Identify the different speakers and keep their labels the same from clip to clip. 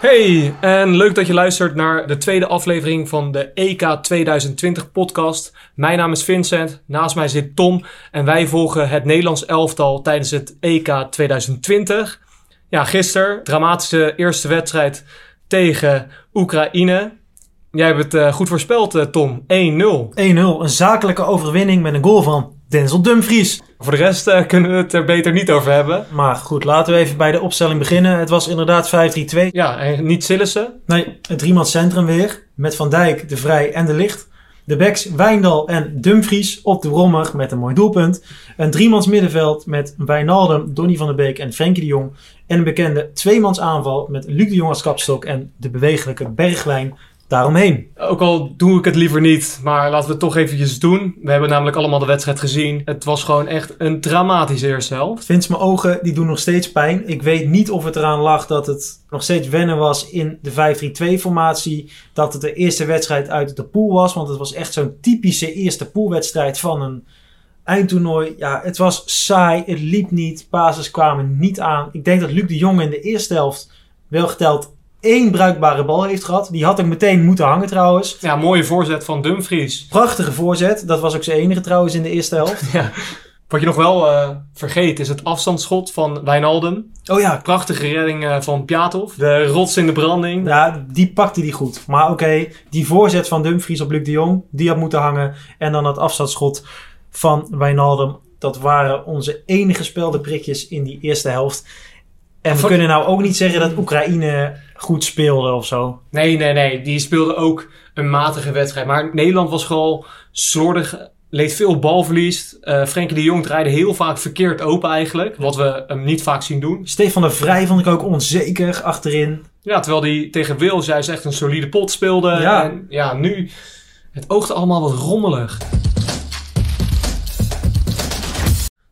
Speaker 1: Hey, en leuk dat je luistert naar de tweede aflevering van de EK 2020 podcast. Mijn naam is Vincent, naast mij zit Tom en wij volgen het Nederlands elftal tijdens het EK 2020. Ja, gisteren, dramatische eerste wedstrijd tegen Oekraïne. Jij hebt het eh, goed voorspeld, eh, Tom. 1-0.
Speaker 2: 1-0, een zakelijke overwinning met een goal van Denzel Dumfries.
Speaker 1: Voor de rest eh, kunnen we het er beter niet over hebben.
Speaker 2: Maar goed, laten we even bij de opstelling beginnen. Het was inderdaad 5-3-2.
Speaker 1: Ja, en niet Sillissen.
Speaker 2: Nee, het driemand centrum weer. Met Van Dijk, De Vrij en De Licht. De backs Wijndal en Dumfries op de brommer met een mooi doelpunt. Een driemans middenveld met Wijnaldum, Donny van der Beek en Frenkie de Jong. En een bekende tweemans aanval met Luc de Jong als kapstok en de bewegelijke Bergwijn daaromheen.
Speaker 1: Ook al doe ik het liever niet, maar laten we het toch eventjes doen. We hebben namelijk allemaal de wedstrijd gezien. Het was gewoon echt een dramatische eerste helft.
Speaker 2: Vince, mijn ogen die doen nog steeds pijn. Ik weet niet of het eraan lag dat het nog steeds wennen was in de 5-3-2 formatie. Dat het de eerste wedstrijd uit de pool was. Want het was echt zo'n typische eerste poolwedstrijd van een eindtoernooi. Ja, het was saai. Het liep niet. Basis kwamen niet aan. Ik denk dat Luc de Jong in de eerste helft wel geteld één bruikbare bal heeft gehad. Die had ik meteen moeten hangen trouwens.
Speaker 1: Ja, mooie voorzet van Dumfries.
Speaker 2: Prachtige voorzet. Dat was ook zijn enige trouwens in de eerste helft.
Speaker 1: Ja. Wat je nog wel eh, vergeet is het afstandsschot van Wijnaldum.
Speaker 2: Oh ja,
Speaker 1: Prachtige redding eh, van Piatov. De rots in de branding.
Speaker 2: Ja, die pakte die goed. Maar oké, die voorzet van Dumfries op Luc de Jong, die had moeten hangen. En dan dat afstandsschot van Wijnaldum. Dat waren onze enige spelde prikjes in die eerste helft. En we
Speaker 1: Van-
Speaker 2: kunnen nou ook niet zeggen dat Oekraïne goed speelde of zo.
Speaker 1: Nee, nee, nee. Die speelde ook een matige wedstrijd. Maar Nederland was gewoon slordig. Leed veel balverlies. Eh Frenkie de Jong draaide heel vaak verkeerd open eigenlijk. Wat we hem niet vaak zien doen.
Speaker 2: Stefan de Vrij vond ik ook onzeker achterin.
Speaker 1: Ja, terwijl hij tegen Wales juist echt een solide pot speelde.
Speaker 2: Ja.
Speaker 1: En ja, nu... Het oogde allemaal wat rommelig.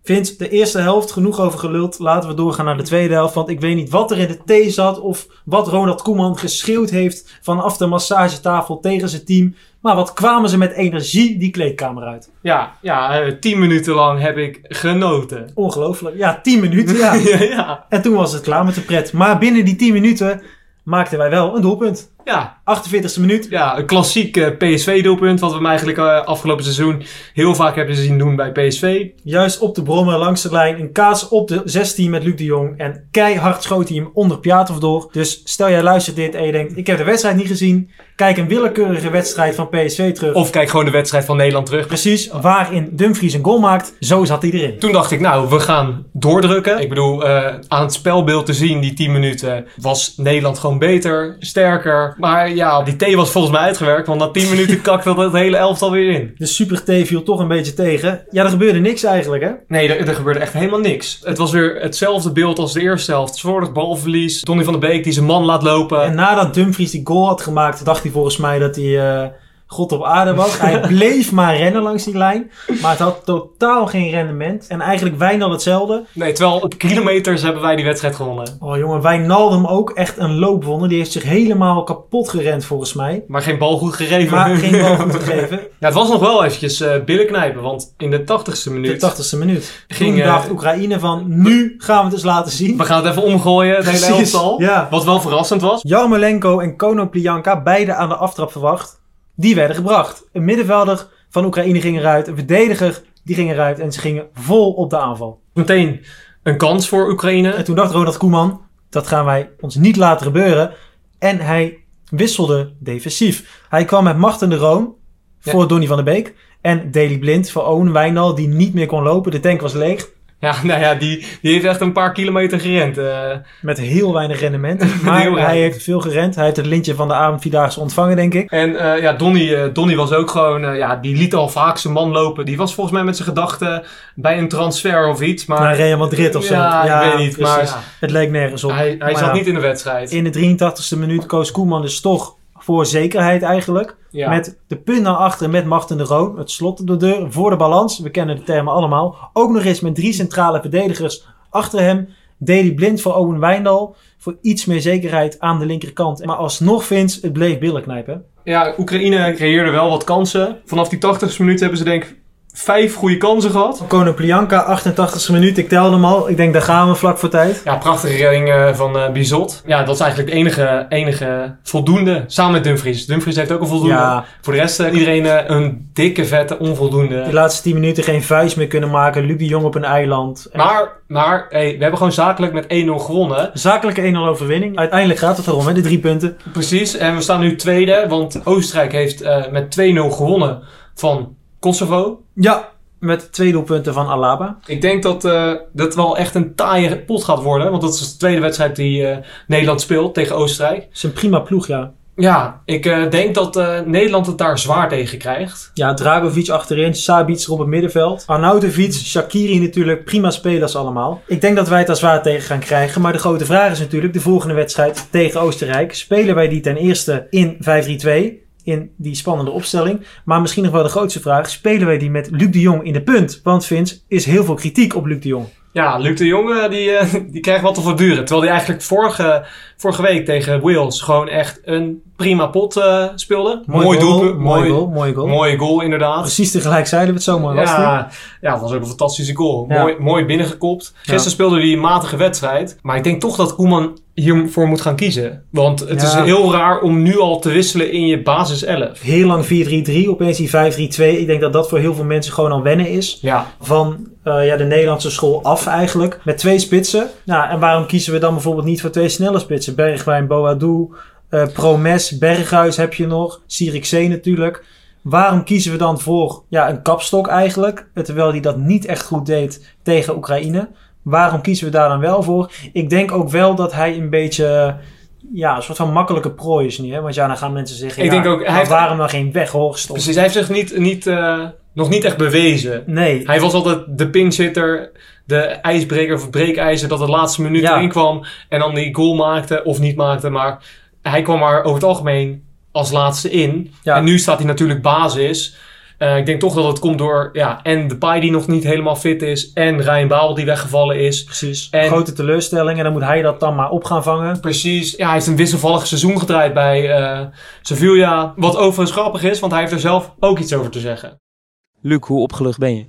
Speaker 2: Vindt de eerste helft genoeg over geluld. Laten we doorgaan naar de tweede helft. Want ik weet niet wat er in de thee zat. Of wat Ronald Koeman geschreeuwd heeft vanaf de massagetafel tegen zijn team. Maar wat kwamen ze met energie die kleedkamer uit.
Speaker 1: Ja, ja eh, tien minuten lang heb ik genoten.
Speaker 2: Ongelooflijk. Ja, 10 minuten. Ja.
Speaker 1: ja.
Speaker 2: en toen was het klaar met de pret. Maar binnen die 10 minuten maakten wij wel een doelpunt.
Speaker 1: ja,
Speaker 2: 48e minuut.
Speaker 1: ja, een klassiek eh, PSV-doelpunt. Wat we hem eigenlijk eh, afgelopen seizoen heel vaak hebben zien doen bij PSV.
Speaker 2: Juist op de brommen langs de lijn. Een kaas op de 16 met Luc de Jong. En keihard schoot hij hem onder Piatov door. Dus stel jij luistert dit en je denkt... Ik heb de wedstrijd niet gezien. Kijk een willekeurige wedstrijd van PSV terug.
Speaker 1: Of kijk gewoon de wedstrijd van Nederland terug.
Speaker 2: Precies, waarin Dumfries een goal maakt. Zo zat hij erin.
Speaker 1: Toen dacht ik, nou, we gaan doordrukken. Ik bedoel, eh, aan het spelbeeld te zien, die 10 minuten, was Nederland gewoon beter, sterker. Maar ja, die thee was volgens mij uitgewerkt, want na 10 minuten kakte dat hele elftal weer in.
Speaker 2: De Super T viel toch een beetje tegen. Ja, er gebeurde niks eigenlijk, hè?
Speaker 1: Nee, er, er gebeurde echt helemaal niks. Het was weer hetzelfde beeld als de eerste helft. Slordig balverlies, Donny van der Beek die zijn man laat lopen.
Speaker 2: En nadat Dumfries die goal had gemaakt, dacht hij volgens mij dat hij eh, God op aarde was. Hij bleef maar rennen langs die lijn. Maar het had totaal geen rendement. En eigenlijk Wijnald hetzelfde.
Speaker 1: Nee, terwijl op kilometers hebben wij die wedstrijd gewonnen.
Speaker 2: Oh jongen, Wijnaldum ook echt een loopwonder. Die heeft zich helemaal kapot gerend volgens mij.
Speaker 1: Maar geen bal goed gegeven.
Speaker 2: Maar geen bal goed gegeven.
Speaker 1: Ja, het was nog wel eventjes eh billen knijpen, want in de 80ste
Speaker 2: De
Speaker 1: minuut...
Speaker 2: 80ste minuut.
Speaker 1: Ging,
Speaker 2: Toen
Speaker 1: eh,
Speaker 2: dacht Oekraïne van, nu gaan we het eens laten zien.
Speaker 1: We gaan het even omgooien, het hele
Speaker 2: Precies,
Speaker 1: elftal.
Speaker 2: ja.
Speaker 1: Wat wel verrassend was.
Speaker 2: Jarmolenko en Konoplyanka, beide aan de aftrap verwacht, die werden gebracht. Een middenvelder van Oekraïne ging eruit, een verdediger die ging eruit en ze gingen vol op de aanval.
Speaker 1: Meteen een kans voor Oekraïne.
Speaker 2: En toen dacht Ronald Koeman, dat gaan wij ons niet laten gebeuren. En hij wisselde defensief. Hij kwam met Marten de Roon voor Donny van der Beek en Daley Blind voor Owen Wijnal, die niet meer kon lopen. De tank was leeg,
Speaker 1: Ja, nou ja, die, die heeft echt een paar kilometer gerend. eh.
Speaker 2: met heel weinig rendement. Maar
Speaker 1: Heel weinig.
Speaker 2: hij heeft veel gerend. Hij heeft het lintje van de avondvierdaagse ontvangen, denk ik.
Speaker 1: en eh, ja, Donny, eh, Donny was ook gewoon... eh, ja, die liet al vaak zijn man lopen. Die was volgens mij met zijn gedachten bij een transfer of iets. Maar
Speaker 2: naar Real Madrid of zo.
Speaker 1: Ja, ik weet niet,
Speaker 2: precies.
Speaker 1: maar-
Speaker 2: Het leek nergens op.
Speaker 1: hij, hij
Speaker 2: Maar
Speaker 1: zat
Speaker 2: ja,
Speaker 1: niet in de wedstrijd.
Speaker 2: In de 83ste minuut koos Koeman dus toch voor zekerheid eigenlijk.
Speaker 1: ja.
Speaker 2: Met de punt naar achter met Marten de Roon. Het slot op de deur voor de balans. We kennen de termen allemaal. Ook nog eens met drie centrale verdedigers achter hem. Deli Blind voor Owen Wijndal. Voor iets meer zekerheid aan de linkerkant. Maar alsnog Vince, het bleef billen knijpen.
Speaker 1: ja, Oekraïne creëerde wel wat kansen. Vanaf die 80ste minuut hebben ze denk ik vijf goede kansen gehad.
Speaker 2: Konen Plianka, 88e minuut. Ik telde hem al. Ik denk, daar gaan we vlak voor tijd.
Speaker 1: Ja, prachtige redding eh, van eh, Bizot. Ja, dat is eigenlijk het enige, enige voldoende. Samen met Dumfries. Dumfries heeft ook een voldoende.
Speaker 2: Ja.
Speaker 1: Voor de rest heeft iedereen eh, een dikke, vette
Speaker 2: Die
Speaker 1: onvoldoende.
Speaker 2: laatste 10 minuten geen vuist meer kunnen maken. Luc de Jong op een eiland. En
Speaker 1: Maar, maar hey, we hebben gewoon zakelijk met 1-0 gewonnen.
Speaker 2: Zakelijke 1-0 overwinning. Uiteindelijk gaat het erom, hè, de drie punten.
Speaker 1: Precies. En we staan nu tweede. Want Oostenrijk heeft eh, met 2-0 gewonnen van Kosovo.
Speaker 2: Ja, met twee doelpunten van Alaba.
Speaker 1: Ik denk dat eh, dat wel echt een taaie pot gaat worden. Want dat is de tweede wedstrijd die eh, Nederland speelt tegen Oostenrijk.
Speaker 2: Het is een prima ploeg, ja.
Speaker 1: Ja, ik eh, denk dat eh, Nederland het daar zwaar tegen krijgt.
Speaker 2: Ja, Dragovic achterin, Sabic er op het middenveld. Arnautovic, Shakiri natuurlijk, prima spelers allemaal. Ik denk dat wij het daar zwaar tegen gaan krijgen. Maar de grote vraag is natuurlijk, de volgende wedstrijd tegen Oostenrijk. Spelen wij die ten eerste in 5-3-2? In die spannende opstelling. Maar misschien nog wel de grootste vraag. Spelen wij die met Luc de Jong in de punt? Want Vince, is heel veel kritiek op Luc de Jong.
Speaker 1: Ja, Luc de Jong eh, die, eh, die krijgt wat te verduren. Terwijl hij eigenlijk vorige, vorige week tegen Wales gewoon echt een prima pot eh, speelde.
Speaker 2: goal,
Speaker 1: doelpunt,
Speaker 2: Mooi
Speaker 1: mooi-
Speaker 2: goal. Mooi goal.
Speaker 1: Mooie goal inderdaad.
Speaker 2: Precies tegelijk zeiden we het zomaar. was het niet?
Speaker 1: Ja, ja, het was ook een fantastische goal.
Speaker 2: Ja.
Speaker 1: Mooi, mooi binnengekopt. Gisteren
Speaker 2: Ja.
Speaker 1: speelde hij een matige wedstrijd. Maar ik denk toch dat Koeman hiervoor moet gaan kiezen. Want het
Speaker 2: Ja.
Speaker 1: is heel raar om nu al te wisselen in je basis 11.
Speaker 2: Heel lang 4-3-3, opeens die 5-3-2. Ik denk dat dat voor heel veel mensen gewoon al wennen is.
Speaker 1: Ja,
Speaker 2: van eh, ja, de Nederlandse school af eigenlijk. Met twee spitsen. Nou, en waarom kiezen we dan bijvoorbeeld niet voor twee snelle spitsen? Bergwijn, Boadu, eh, Promes, Berghuis heb je nog. Sirikzee natuurlijk. Waarom kiezen we dan voor ja, een kapstok eigenlijk? Eh, Terwijl hij dat niet echt goed deed tegen Oekraïne. Waarom kiezen we daar dan wel voor? Ik denk ook wel dat hij een beetje... eh, Ja, een soort van makkelijke prooi is nu. Hè? Want ja, dan gaan mensen zeggen...
Speaker 1: Ik
Speaker 2: ja,
Speaker 1: denk ook, hij
Speaker 2: maar
Speaker 1: heeft-
Speaker 2: waarom dan geen weghorst? Of...
Speaker 1: precies. Hij heeft zich niet, niet, eh, nog niet echt bewezen.
Speaker 2: Nee,
Speaker 1: Hij was altijd de pinchitter, de ijsbreker of breekijzer dat de laatste minuut
Speaker 2: Ja.
Speaker 1: erin kwam en dan die goal maakte of niet maakte. Maar hij kwam maar over het algemeen als laatste in.
Speaker 2: Ja.
Speaker 1: En nu staat hij natuurlijk basis. Eh, ik denk toch dat het komt door ja, en de Pai die nog niet helemaal fit is en Ryan Babel die weggevallen is.
Speaker 2: precies.
Speaker 1: En-
Speaker 2: Grote teleurstelling. En dan moet hij dat dan maar op gaan vangen.
Speaker 1: Precies, ja, hij heeft een wisselvallig seizoen gedraaid bij eh, Sevilla. Wat overigens grappig is, want hij heeft er zelf ook iets over te zeggen.
Speaker 3: Luc, hoe opgelucht ben je?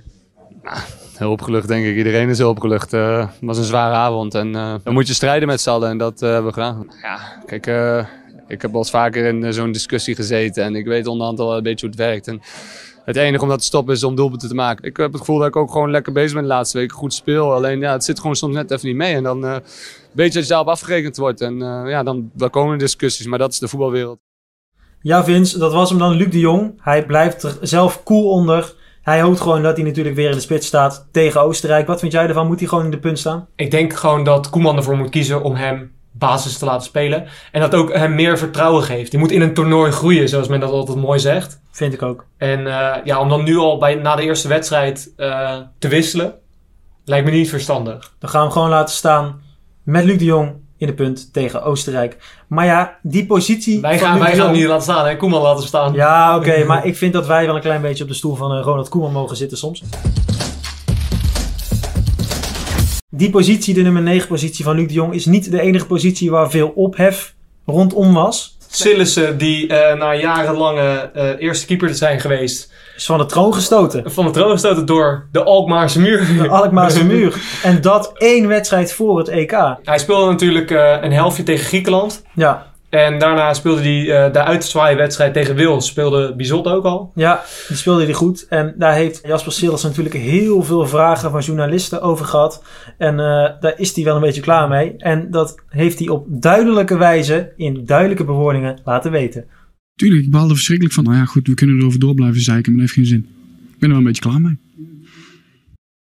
Speaker 4: Heel opgelucht, denk ik. Iedereen is heel opgelucht. Eh, het was een zware avond en eh, dan moet je strijden met z'n allen en dat eh, hebben we gedaan. Ja, kijk, eh, ik heb wel eens vaker in eh, zo'n discussie gezeten en ik weet onderhand al een beetje hoe het werkt. En het enige om dat te stoppen is om doelpunten te maken. Ik heb het gevoel dat ik ook gewoon lekker bezig ben de laatste weken. Goed speel, alleen ja, het zit gewoon soms net even niet mee. En dan eh, weet je dat je daarop afgerekend wordt en eh, ja, dan, dan komen discussies, maar dat is de voetbalwereld.
Speaker 2: Ja, Vince, dat was hem dan. Luc de Jong. Hij blijft er zelf cool onder. Hij hoopt gewoon dat hij natuurlijk weer in de spits staat tegen Oostenrijk. Wat vind jij ervan? Moet hij gewoon in de punt staan?
Speaker 1: Ik denk gewoon dat Koeman ervoor moet kiezen om hem basis te laten spelen. En dat ook hem meer vertrouwen geeft. Die moet in een toernooi groeien, zoals men dat altijd mooi zegt.
Speaker 2: Vind ik ook.
Speaker 1: En eh, ja, om dan nu al bij, na de eerste wedstrijd eh, te wisselen, lijkt me niet verstandig.
Speaker 2: Dan gaan we hem gewoon laten staan met Luc de Jong in de punt tegen Oostenrijk. Maar ja, die positie.
Speaker 1: Wij
Speaker 2: van
Speaker 1: gaan,
Speaker 2: Luc
Speaker 1: wij
Speaker 2: de
Speaker 1: gaan hem
Speaker 2: Jong-
Speaker 1: niet laten staan en Koeman laten staan.
Speaker 2: Ja, oké, maar ik vind dat wij wel een klein beetje op de stoel van eh, Ronald Koeman mogen zitten soms. Die positie, de nummer 9 positie van Luc de Jong, is niet de enige positie waar veel ophef rondom was.
Speaker 1: Sillissen, die eh, na jarenlange eh, eerste keeper te zijn geweest,
Speaker 2: Is van de troon gestoten.
Speaker 1: van de troon gestoten door de Alkmaarse muur.
Speaker 2: De Alkmaarse muur. En dat één wedstrijd voor het EK.
Speaker 1: Hij speelde natuurlijk eh, een helftje tegen Griekenland.
Speaker 2: Ja,
Speaker 1: En daarna speelde hij eh, de uitzwaaiwedstrijd tegen Wils. Speelde Bizot ook al.
Speaker 2: ja, die speelde hij goed. En daar heeft Jasper Sillers natuurlijk heel veel vragen van journalisten over gehad. En eh, daar is hij wel een beetje klaar mee. En dat heeft hij op duidelijke wijze, in duidelijke bewoordingen, laten weten.
Speaker 5: Tuurlijk, ik baal er verschrikkelijk van. Nou ja, goed, we kunnen erover door blijven zeiken, maar dat heeft geen zin. Ik ben er wel een beetje klaar mee.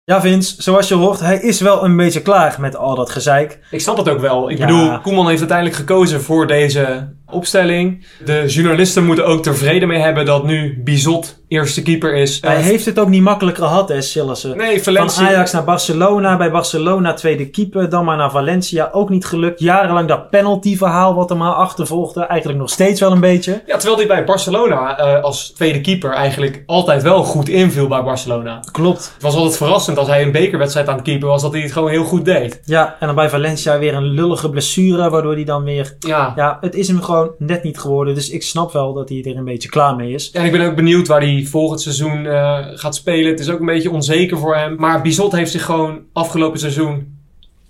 Speaker 2: Ja, Vince, zoals je hoort, hij is wel een beetje klaar met al dat gezeik.
Speaker 1: Ik snap dat ook wel. Ik
Speaker 2: Ja.
Speaker 1: bedoel, Koeman heeft uiteindelijk gekozen voor deze opstelling. De journalisten moeten ook tevreden mee hebben dat nu Bizot eerste keeper is.
Speaker 2: Hij
Speaker 1: Eh,
Speaker 2: heeft het ook niet makkelijk gehad, hè, Sillessen.
Speaker 1: Nee,
Speaker 2: Van
Speaker 1: Valencia.
Speaker 2: Ajax naar Barcelona, bij Barcelona tweede keeper, dan maar naar Valencia, ook niet gelukt. Jarenlang dat penalty-verhaal wat hem maar achtervolgde, eigenlijk nog steeds wel een beetje.
Speaker 1: Ja, terwijl hij bij Barcelona eh, als tweede keeper eigenlijk altijd wel goed inviel bij Barcelona.
Speaker 2: Klopt.
Speaker 1: Het was altijd verrassend als hij een bekerwedstrijd aan het keeper was dat hij het gewoon heel goed deed.
Speaker 2: Ja, en dan bij Valencia weer een lullige blessure, waardoor hij dan weer...
Speaker 1: Ja,
Speaker 2: Ja, het is hem gewoon net niet geworden. Dus ik snap wel dat hij er een beetje klaar mee is.
Speaker 1: En ik ben ook benieuwd waar hij volgend seizoen eh, gaat spelen. Het is ook een beetje onzeker voor hem. Maar Bizot heeft zich gewoon afgelopen seizoen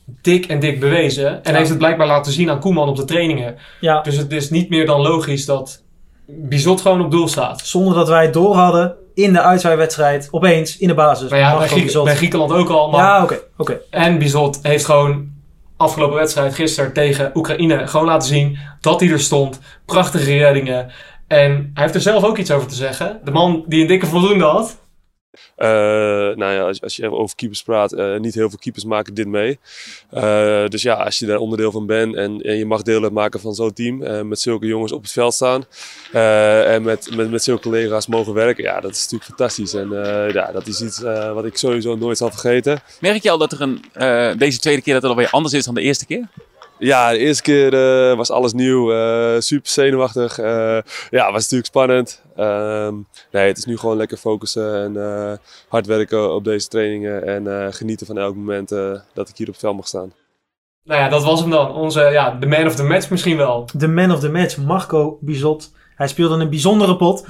Speaker 1: dik en dik bewezen. En
Speaker 2: Ja.
Speaker 1: heeft het blijkbaar laten zien aan Koeman op de trainingen.
Speaker 2: Ja,
Speaker 1: Dus het is niet meer dan logisch dat Bizot gewoon op doel staat.
Speaker 2: zonder dat wij het door hadden in de uitzwaaiwedstrijd opeens in de basis.
Speaker 1: Nou ja,
Speaker 2: Mag
Speaker 1: bij,
Speaker 2: gewoon
Speaker 1: Griek-
Speaker 2: Bizot.
Speaker 1: bij Griekenland ook al. Maar
Speaker 2: Ja, oké. oké.
Speaker 1: En Bizot heeft gewoon afgelopen wedstrijd gisteren tegen Oekraïne gewoon laten zien dat hij er stond. Prachtige reddingen. En hij heeft er zelf ook iets over te zeggen. De man die een dikke voldoende had.
Speaker 6: Eh, nou ja, als, als je over keepers praat, eh, niet heel veel keepers maken dit mee. Eh, dus ja, als je daar onderdeel van bent en, en je mag deel uitmaken van zo'n team, eh, met zulke jongens op het veld staan eh, en met, met, met zulke collega's mogen werken, ja, dat is natuurlijk fantastisch. En eh, ja, dat is iets eh, wat ik sowieso nooit zal vergeten.
Speaker 7: Merk je al dat er een, eh, deze tweede keer dat het alweer anders is dan de eerste keer?
Speaker 6: Ja, de eerste keer eh, was alles nieuw, eh, super zenuwachtig. eh, ja, was natuurlijk spannend. Ehm, nee, het is nu gewoon lekker focussen en eh, hard werken op deze trainingen en eh, genieten van elk moment eh, dat ik hier op het veld mag staan.
Speaker 1: Nou ja, dat was hem dan. Onze, ja, de man of the match misschien wel.
Speaker 2: De man of the match, Marco Bizot. Hij speelde een bijzondere pot.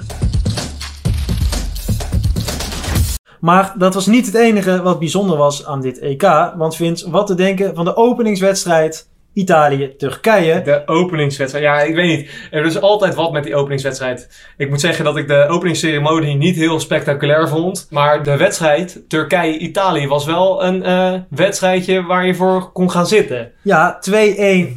Speaker 2: Maar dat was niet het enige wat bijzonder was aan dit EK. Want Vince, wat te denken van de openingswedstrijd Italië-Turkije?
Speaker 1: De openingswedstrijd. Ja, ik weet niet. Er is altijd wat met die openingswedstrijd. Ik moet zeggen dat ik de openingsceremonie niet heel spectaculair vond. Maar de wedstrijd Turkije-Italië was wel een eh, wedstrijdje waar je voor kon gaan zitten.
Speaker 2: Ja, 2-1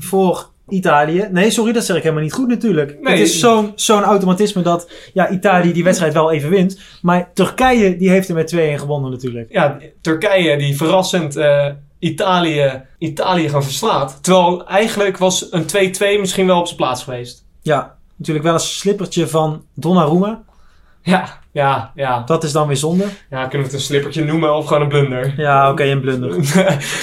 Speaker 2: voor Italië. Nee, sorry, dat zeg ik helemaal niet goed natuurlijk.
Speaker 1: Nee.
Speaker 2: Het is zo'n zo'n automatisme dat ja, Italië die wedstrijd wel even wint. Maar Turkije die heeft er met 2-1 gewonnen natuurlijk.
Speaker 1: ja, Turkije die verrassend eh, Italië, Italië gaan verslaat. Terwijl eigenlijk was een 2-2 misschien wel op zijn plaats geweest.
Speaker 2: Ja, natuurlijk wel een slippertje van Donnarumma.
Speaker 1: Ja, ja, ja.
Speaker 2: Dat is dan weer zonde.
Speaker 1: Ja, kunnen we het een slippertje noemen of gewoon een blunder?
Speaker 2: Ja, oké, een blunder.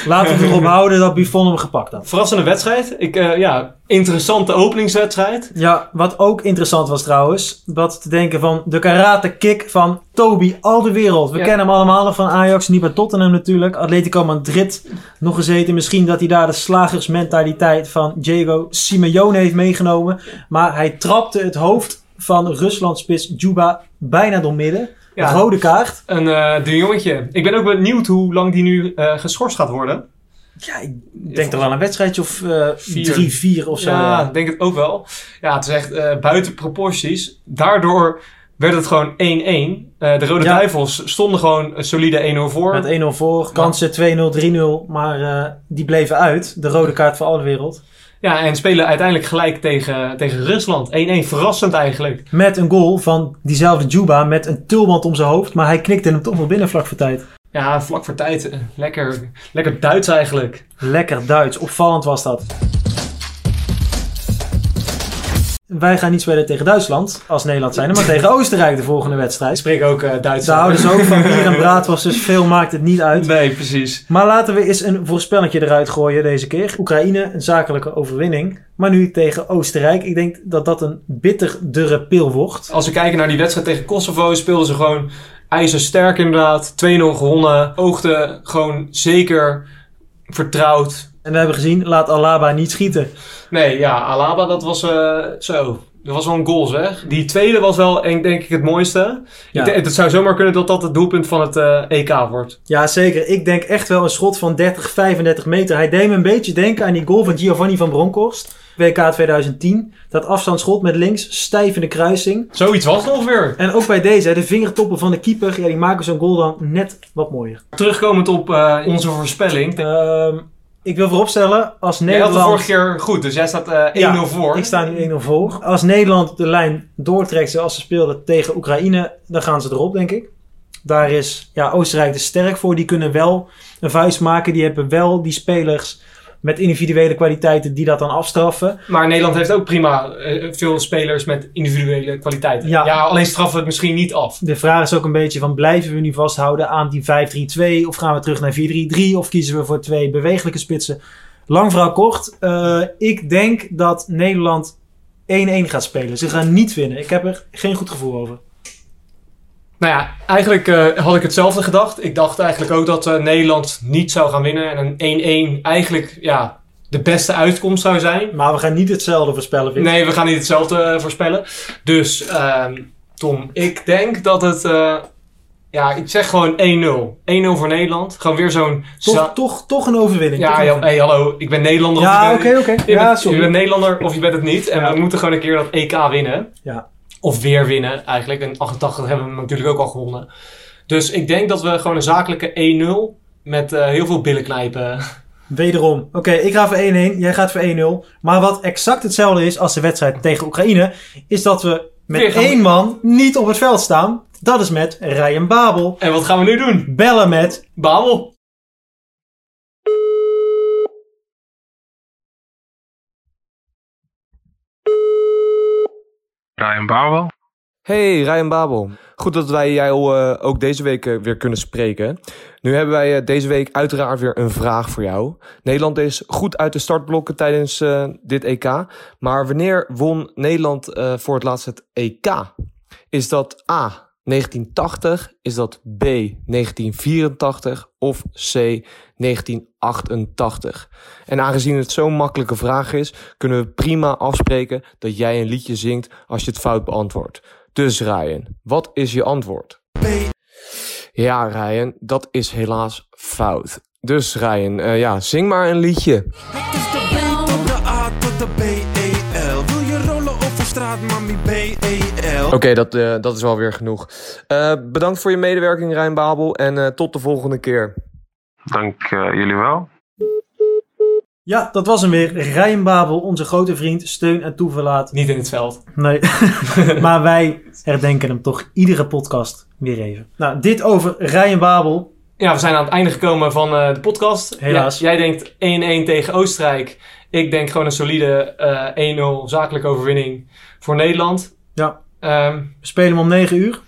Speaker 2: Laten we erop houden dat Buffon hem gepakt had.
Speaker 1: Verrassende wedstrijd. Ik, eh, ja, interessante openingswedstrijd.
Speaker 2: Ja, wat ook interessant was trouwens, wat te denken van de karate kick van Toby al de wereld. We
Speaker 1: Ja.
Speaker 2: kennen hem allemaal nog van Ajax, niet bij Tottenham natuurlijk. Atletico Madrid nog gezeten. Misschien dat hij daar de slagersmentaliteit van Diego Simeone heeft meegenomen. Maar hij trapte het hoofd van Ruslandspits Juba bijna doormidden.
Speaker 1: Ja.
Speaker 2: Rode kaart.
Speaker 1: Een eh de jongetje. Ik ben ook benieuwd hoe lang die nu eh, geschorst gaat worden.
Speaker 2: Ja, ik denk er wel aan een wedstrijdje of eh,
Speaker 1: Vier.
Speaker 2: drie, vier of zo.
Speaker 1: ja,
Speaker 2: eh.
Speaker 1: ik denk het ook wel. Ja, het is echt eh, buiten proporties. Daardoor werd het gewoon 1-1. Eh, de Rode
Speaker 2: Ja.
Speaker 1: Duivels stonden gewoon een solide 1-0 voor.
Speaker 2: Met 1-0 voor, kansen 2-0, 3-0, maar eh, die bleven uit. De rode kaart voor alle wereld.
Speaker 1: Ja, en spelen uiteindelijk gelijk tegen, tegen Rusland. 1-1, verrassend eigenlijk.
Speaker 2: Met een goal van diezelfde Juba met een tulband om zijn hoofd, maar hij knikte hem toch wel binnen vlak voor tijd.
Speaker 1: Ja, vlak voor tijd. eh, Lekker, lekker Duits eigenlijk.
Speaker 2: Lekker Duits, opvallend was dat. Wij gaan niet spelen tegen Duitsland, als Nederland zijn, maar tegen Oostenrijk de volgende
Speaker 1: Ik
Speaker 2: wedstrijd.
Speaker 1: spreek ook eh, Duits.
Speaker 2: Daar houden ze ook van bier en braadwas, dus veel maakt het niet uit.
Speaker 1: Nee, precies.
Speaker 2: Maar laten we eens een voorspelletje eruit gooien deze keer. Oekraïne, een zakelijke overwinning. Maar nu tegen Oostenrijk. Ik denk dat dat een bitterdere pil wordt.
Speaker 1: Als we kijken naar die wedstrijd tegen Kosovo, speelden ze gewoon ijzersterk inderdaad. 2-0 gewonnen. Oogde gewoon zeker vertrouwd.
Speaker 2: En we hebben gezien, laat Alaba niet schieten.
Speaker 1: Nee, ja, Alaba, dat was eh, zo. Dat was wel een goal, zeg. Die tweede was wel, en- denk ik, het mooiste.
Speaker 2: Ja.
Speaker 1: Ik denk- het zou zomaar kunnen dat dat het doelpunt van het eh, EK wordt.
Speaker 2: Ja, zeker. Ik denk echt wel een schot van 30, 35 meter. Hij deed me een beetje denken aan die goal van Giovanni van Bronckhorst. WK 2010. Dat afstandsschot met links, stijf in de kruising.
Speaker 1: Zoiets was het ongeveer.
Speaker 2: En ook bij deze, hè, de vingertoppen van de keeper. Ja, die maken zo'n goal dan net wat mooier.
Speaker 1: Terugkomend op eh, onze voorspelling.
Speaker 2: Ehm, ik wil vooropstellen, als
Speaker 1: Jij had
Speaker 2: Nederland...
Speaker 1: de vorige keer goed, dus jij staat eh, 1-0
Speaker 2: Ja,
Speaker 1: voor.
Speaker 2: Ik sta nu 1-0 voor. Als Nederland de lijn doortrekt zoals ze speelden tegen Oekraïne, dan gaan ze erop, denk ik. Daar is ja, Oostenrijk te sterk voor. Die kunnen wel een vuist maken. Die hebben wel die spelers met individuele kwaliteiten die dat dan afstraffen.
Speaker 1: Maar Nederland heeft ook prima eh, veel spelers met individuele kwaliteiten. Ja.
Speaker 2: Ja.
Speaker 1: alleen straffen we het misschien niet af.
Speaker 2: De vraag is ook een beetje van blijven we nu vasthouden aan die 5-3-2 of gaan we terug naar 4-3-3 of kiezen we voor twee bewegelijke spitsen. Lang verhaal kort. eh, ik denk dat Nederland 1-1 gaat spelen. Ze gaan niet winnen. Ik heb er geen goed gevoel over.
Speaker 1: Nou ja, eigenlijk eh, had ik hetzelfde gedacht. Ik dacht eigenlijk ook dat eh, Nederland niet zou gaan winnen. En een 1-1 eigenlijk, ja, de beste uitkomst zou zijn.
Speaker 2: Maar we gaan niet hetzelfde voorspellen, Vic.
Speaker 1: Nee, we gaan niet hetzelfde eh, voorspellen. Dus, ehm, Tom, ik denk dat het. eh, ja, ik zeg gewoon 1-0. 1-0 voor Nederland. Gewoon weer zo'n.
Speaker 2: Toch,
Speaker 1: za-
Speaker 2: toch, toch een overwinning.
Speaker 1: ja,
Speaker 2: Toch een
Speaker 1: ja, hey, hallo. Ik ben Nederlander. of
Speaker 2: Ja,
Speaker 1: ik
Speaker 2: oké,
Speaker 1: ben-
Speaker 2: oké.
Speaker 1: Je,
Speaker 2: Ja,
Speaker 1: bent, je bent
Speaker 2: sorry.
Speaker 1: Nederlander of je bent het niet. En
Speaker 2: Ja.
Speaker 1: we moeten gewoon een keer dat EK winnen.
Speaker 2: Ja.
Speaker 1: Of weer winnen eigenlijk. En 88 hebben we hem natuurlijk ook al gewonnen. Dus ik denk dat we gewoon een zakelijke 1-0 met eh, heel veel billen knijpen.
Speaker 2: Wederom. Oké, ik ga voor 1-1. Jij gaat voor 1-0. Maar wat exact hetzelfde is als de wedstrijd tegen Oekraïne... is dat we
Speaker 1: Weer
Speaker 2: met
Speaker 1: gaan we-
Speaker 2: één man niet op het veld staan. Dat is met Ryan Babel.
Speaker 1: En wat gaan we nu doen?
Speaker 2: Bellen met...
Speaker 1: Babel.
Speaker 8: Ryan Bouwel.
Speaker 9: Hey, Ryan Babel. Goed dat wij jou eh, ook deze week eh, weer kunnen spreken. Nu hebben wij eh, deze week uiteraard weer een vraag voor jou. Nederland is goed uit de startblokken tijdens eh, dit EK. Maar wanneer won Nederland eh, voor het laatst het EK? Is dat A. 1980, is dat B 1984 of C 1988? En aangezien het zo'n makkelijke vraag is, kunnen we prima afspreken dat jij een liedje zingt als je het fout beantwoordt. Dus Ryan, wat is je antwoord? Ja, Ryan, dat is helaas fout. Dus Ryan, eh, ja, zing maar een liedje.
Speaker 10: Het is de B tot de A tot de B-E-L. Wil je rollen over straat, mami E B-E-L?
Speaker 9: Oké, dat, eh, dat is wel weer genoeg. Eh, bedankt voor je medewerking, Ryan Babel. En eh, tot de volgende keer.
Speaker 8: Dank eh, jullie wel.
Speaker 2: Ja, dat was hem weer. Ryan Babel, onze grote vriend. Steun en toeverlaat.
Speaker 1: Niet in het veld.
Speaker 2: Nee. maar wij herdenken hem toch iedere podcast weer even. Nou, dit over Ryan Babel.
Speaker 1: Ja, we zijn aan het einde gekomen van eh, de podcast.
Speaker 2: Helaas.
Speaker 1: Ja, jij denkt 1-1 tegen Oostenrijk. Ik denk gewoon een solide eh, 1-0 zakelijke overwinning voor Nederland.
Speaker 2: Ja.
Speaker 1: Ehm,
Speaker 2: We spelen hem om 9 uur.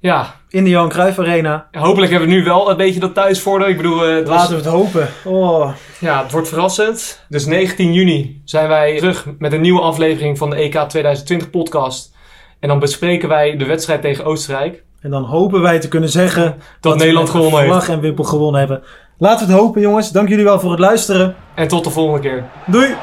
Speaker 1: ja,
Speaker 2: In de Johan Cruijff Arena.
Speaker 1: hopelijk hebben we nu wel een beetje dat thuisvoordeel. Ik bedoel, eh, het, was-
Speaker 2: Laten we het hopen. Oh.
Speaker 1: ja, het wordt verrassend. Dus 19 juni zijn wij terug met een nieuwe aflevering van de E EK 2020 podcast. En dan bespreken wij de wedstrijd tegen Oostenrijk.
Speaker 2: En dan hopen wij te kunnen zeggen
Speaker 1: Dat Nederland
Speaker 2: we met
Speaker 1: gewonnen heeft.
Speaker 2: vlag en wimpel gewonnen hebben. Laten we het hopen, jongens. Dank jullie wel voor het luisteren.
Speaker 1: En tot de volgende keer.
Speaker 2: Doei!